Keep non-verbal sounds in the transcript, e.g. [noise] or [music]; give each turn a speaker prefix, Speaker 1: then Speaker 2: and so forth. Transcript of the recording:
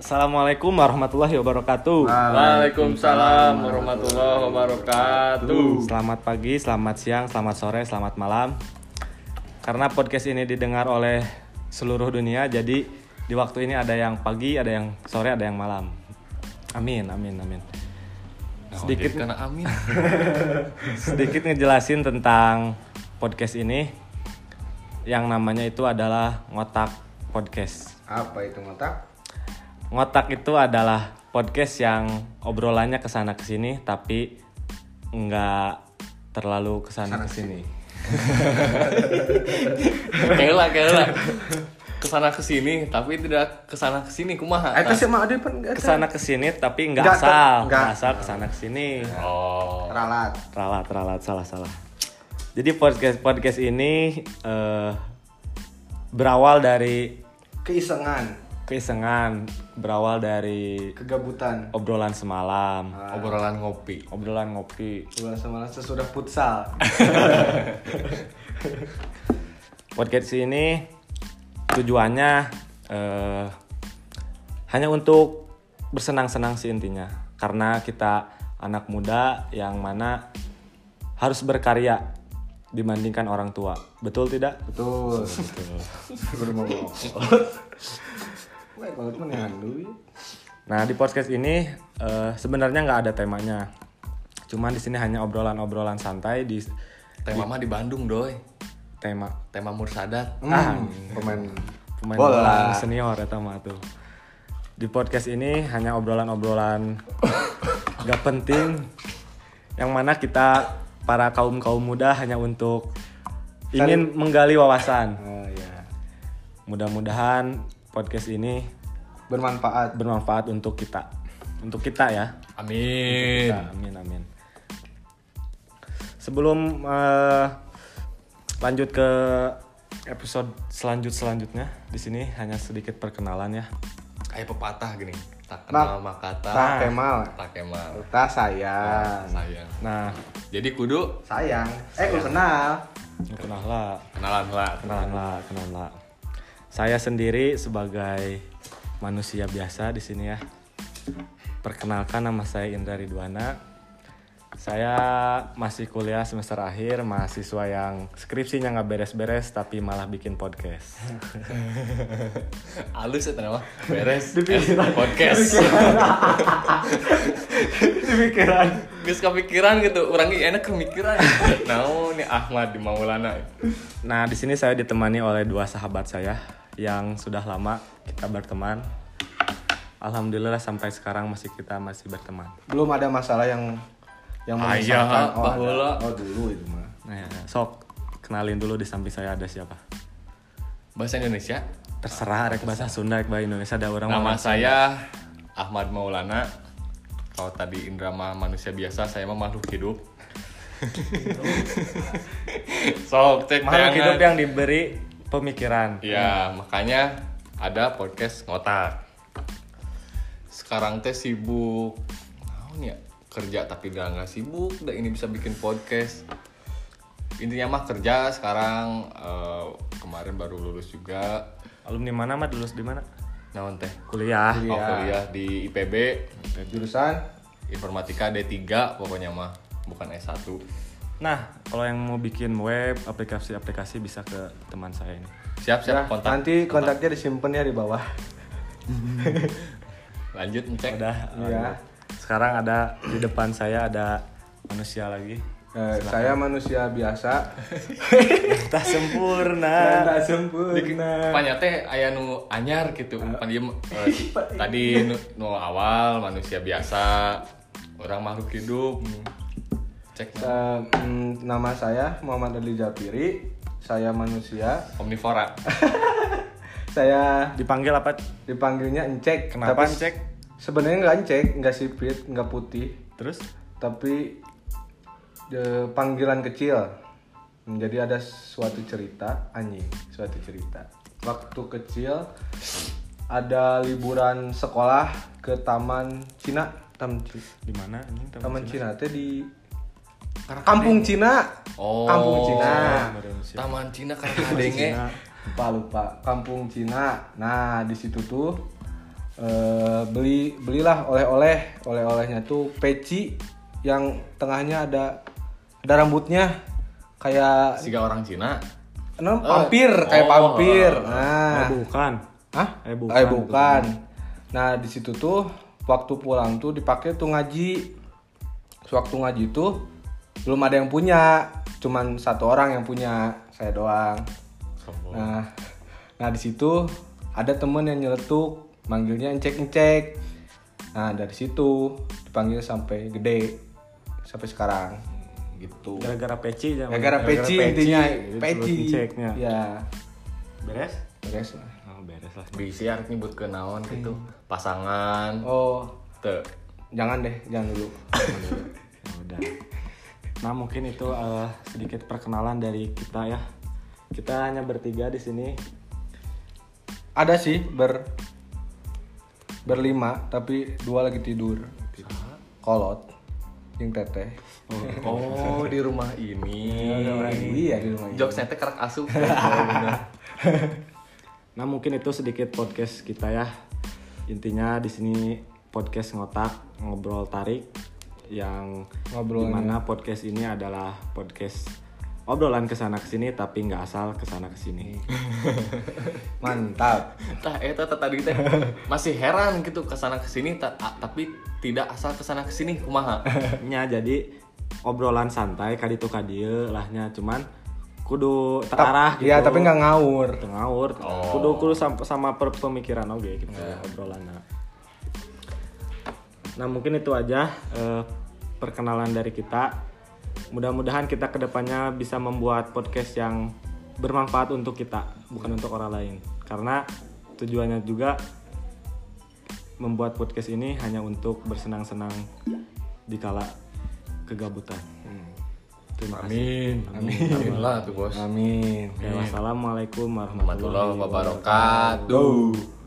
Speaker 1: Assalamualaikum warahmatullahi wabarakatuh.
Speaker 2: Waalaikumsalam warahmatullahi wabarakatuh.
Speaker 1: Selamat pagi, selamat siang, selamat sore, selamat malam. Karena podcast ini didengar oleh seluruh dunia, jadi di waktu ini ada yang pagi, ada yang sore, ada yang malam. Amin, amin, amin. Sedikit
Speaker 2: Nah, karena [laughs] amin.
Speaker 1: [laughs] sedikit ngejelasin tentang podcast ini yang namanya itu adalah ngotak podcast.
Speaker 3: Apa itu ngotak?
Speaker 1: Ngotak itu adalah podcast yang obrolannya kesana kesini tapi nggak terlalu kesana kesini.
Speaker 2: Kela kela. Kesana kesini tapi tidak kesana kesini kumaha.
Speaker 1: Eh,
Speaker 3: Eta sih mah ada pan eta.
Speaker 1: Kesana kesini tapi nggak
Speaker 3: Nggak ter-
Speaker 1: asal,
Speaker 3: nggak.
Speaker 1: nggak asal kesana kesini.
Speaker 2: Oh.
Speaker 3: Ralat.
Speaker 1: Ralat ralat salah salah. Jadi podcast podcast ini eh, berawal dari
Speaker 3: Keisengan,
Speaker 1: keisengan, berawal dari
Speaker 3: kegabutan.
Speaker 1: obrolan semalam,
Speaker 2: Obrolan ngopi.
Speaker 1: obrolan ngopi.
Speaker 3: Bulan semalam sesudah
Speaker 2: [laughs]
Speaker 3: futsal.
Speaker 1: podcast ini tujuannya eh, hanya untuk bersenang-senang sih intinya karena kita anak muda yang mana harus berkarya dibandingkan orang tua betul tidak
Speaker 3: Betul. Betul.
Speaker 2: [laughs]
Speaker 3: mau ngomong. Wah, kalau temen yang dulu ya.
Speaker 1: nah di podcast ini eh, sebenarnya nggak ada temanya cuman di sini hanya obrolan-obrolan santai di
Speaker 2: Tema mah di Bandung doy.
Speaker 1: tema Ah,
Speaker 2: Tema Mursadat.
Speaker 3: Hmm, pemain
Speaker 1: pemain bola,
Speaker 3: Bola.
Speaker 1: senior eta mah tuh. Di podcast ini hanya obrolan-obrolan [laughs] gak penting yang mana kita para kaum-kaum muda hanya untuk ingin menggali wawasan.
Speaker 3: Oh ya.
Speaker 1: Mudah-mudahan podcast ini
Speaker 3: Bermanfaat.
Speaker 1: bermanfaat untuk kita. Untuk kita ya.
Speaker 2: Amin.
Speaker 1: Kita, amin amin. Sebelum eh, lanjut ke episode selanjut selanjutnya di sini hanya sedikit perkenalan ya.
Speaker 2: Kayak pepatah gini. Tak kenal
Speaker 1: Nah.
Speaker 2: maka tak
Speaker 3: Tak Kemal.
Speaker 2: tak kenal.
Speaker 3: Tak sayang.
Speaker 2: Sayang.
Speaker 1: Nah,
Speaker 2: Jadi kudu
Speaker 3: Sayang. Eh, gue kenal.
Speaker 1: kenalan lah,
Speaker 2: kenalan lah.
Speaker 1: kenalan lah, kenalan lah. Saya sendiri sebagai manusia biasa di sini ya. Perkenalkan nama saya Indra Ridwana. Saya masih kuliah semester akhir, mahasiswa yang skripsinya nggak beres-beres tapi malah bikin podcast.
Speaker 2: Alus ya ternyata. Beres.
Speaker 1: Dipikiran.
Speaker 2: Eh, Podcast.
Speaker 1: Pikiran.
Speaker 2: Gus kepikiran gitu, orang ini enak kemikiran. Naon nih Ahmad di Maulana.
Speaker 1: Nah, di sini saya ditemani oleh dua sahabat saya yang sudah lama kita berteman. Alhamdulillah sampai sekarang masih kita masih berteman.
Speaker 3: Belum ada masalah yang yang
Speaker 2: Ayah,
Speaker 3: memisahkan. Oh, ada.
Speaker 2: bahola.
Speaker 3: oh, dulu itu mah.
Speaker 1: Nah, ya, ya. sok kenalin dulu di samping saya ada siapa?
Speaker 2: Bahasa Indonesia.
Speaker 1: Terserah rek bahasa Sunda rek bahasa Indonesia ada orang
Speaker 2: Nama
Speaker 1: orang.
Speaker 2: saya Ahmad Maulana. Kalau tadi Indra mah manusia biasa, saya mah makhluk hidup. Sok cek
Speaker 1: makhluk
Speaker 2: tayangan.
Speaker 1: hidup yang diberi pemikiran.
Speaker 3: Iya.
Speaker 2: Ya, makanya ada podcast ngotak. Sekarang teh sibuk. Naon ya? Kerja tapi udah nggak sibuk, udah ini bisa bikin podcast. Intinya mah kerja sekarang eh, kemarin baru lulus juga.
Speaker 1: Alumni mana mah lulus di mana?
Speaker 2: Naon teh?
Speaker 1: Kuliah.
Speaker 3: Iya.
Speaker 2: Oh, kuliah di IPB
Speaker 3: Jurusan
Speaker 2: Informatika D3 pokoknya mah, bukan S1.
Speaker 1: Nah, kalau yang mau bikin web, aplikasi-aplikasi bisa ke teman saya ini.
Speaker 2: Siap, siap kontak.
Speaker 3: Ya, nanti kontaknya disimpan ya di bawah.
Speaker 2: Lanjut ngecek.
Speaker 1: Udah.
Speaker 3: Iya.
Speaker 1: Sekarang ada di depan saya ada manusia lagi. [laughs]
Speaker 3: Eh, saya manusia biasa
Speaker 1: Tak
Speaker 3: dan
Speaker 1: sempurna.
Speaker 3: tak sempurna.
Speaker 2: Panya teh aya nu anyar gitu. Pan ieu mah,
Speaker 3: [laughs]
Speaker 2: eh, si- tadi nu, nu awal manusia biasa, orang makhluk hidup. Cek nah.
Speaker 3: Eh, mm, nama saya Muhammad Ali Japiri. Saya manusia.
Speaker 2: omnivora.
Speaker 3: Saya
Speaker 1: Dipanggil apa?
Speaker 3: dipanggilnya Encek.
Speaker 1: Kenapa
Speaker 3: Tapi
Speaker 1: Encek?
Speaker 3: Sebenarnya nggak Encek, nggak sipit, nggak putih,
Speaker 1: Terus?
Speaker 3: tapi eh, panggilan kecil. Hmm, Jadi ada suatu cerita anjing, suatu cerita. Waktu kecil ada liburan sekolah ke Taman Cina, Taman Cina.
Speaker 1: Di mana anjing teman?
Speaker 3: Taman Cina teh di Kampung Cina.
Speaker 2: Oh.
Speaker 3: Kampung Cina.
Speaker 2: Taman Cina kan karena denge.
Speaker 3: Lupa lupa. Kampung Cina. Nah, di situ tuh eh, eh, beli belilah oleh-oleh oleh-olehnya tuh peci yang tengahnya ada ada rambutnya kayak
Speaker 2: Siga orang Cina.
Speaker 3: non pampir kayak
Speaker 2: oh.
Speaker 3: pampir nah
Speaker 1: Eh, bukan.
Speaker 3: Hah?
Speaker 1: Eh,
Speaker 3: Eh
Speaker 1: bukan.
Speaker 3: bukan. Nah, di situ tuh waktu pulang tuh dipakai tuh ngaji. Sewaktu ngaji tuh belum ada yang punya, cuman satu orang yang punya, saya doang.
Speaker 2: Sombong.
Speaker 3: Nah, nah di situ ada temen yang nyeletuk, manggilnya encek-encek. Nah, dari situ dipanggil sampai gede sampai sekarang gitu.
Speaker 1: Gara-gara peci aja.
Speaker 3: Gara-gara peci intinya,
Speaker 1: Peci.
Speaker 3: peci.
Speaker 1: Ceknya.
Speaker 3: Ya,
Speaker 1: Beres?
Speaker 3: beres lah.
Speaker 1: Oh, beres lah.
Speaker 2: Bisi arek nyebut ke naon gitu. Pasangan.
Speaker 3: Hmm. Oh,
Speaker 2: Teu.
Speaker 3: jangan deh, jangan dulu.
Speaker 1: Ya udah. Nah mungkin itu eh, sedikit perkenalan dari kita ya. Kita hanya bertiga di sini.
Speaker 3: ada sih ber berlima tapi dua lagi tidur kolot yang teteh
Speaker 2: Oh, di rumah ini.
Speaker 3: [laughs] iya di rumah ini.
Speaker 2: Jokesnya teh kerak
Speaker 3: [laughs]
Speaker 2: asup. Oh, bener.
Speaker 1: Nah mungkin itu sedikit podcast kita ya. Intinya di sini podcast ngotak ngobrol tarik yang
Speaker 3: Ngobrol
Speaker 1: dimana podcast ini adalah podcast obrolan kesana kesini tapi nggak asal kesana kesini.
Speaker 3: mantap
Speaker 2: Tah eta teh eh, tadi [laughs] teh masih heran gitu kesana kesini ta- a- tapi tidak asal kesana kesini kumaha.
Speaker 1: nya jadi obrolan santai kali itu kadie lahnya cuman kudu
Speaker 3: Tap-
Speaker 1: terarah gitu.
Speaker 3: iya tapi nggak ngaur
Speaker 1: Teu ngaur kudu kudu sama, sama per- pemikiran oke gitu obrolanna. nah mungkin itu aja eh, perkenalan dari kita mudah-mudahan kita kedepannya bisa membuat podcast yang bermanfaat untuk kita bukan untuk orang lain karena tujuannya juga membuat podcast ini hanya untuk bersenang-senang dikala kegabutan terima kasih
Speaker 2: Amin. Amin lah tuh bos.
Speaker 3: amin
Speaker 1: Oke, wassalamualaikum warahmatullahi
Speaker 2: Warahmatullahi wabarakatuh.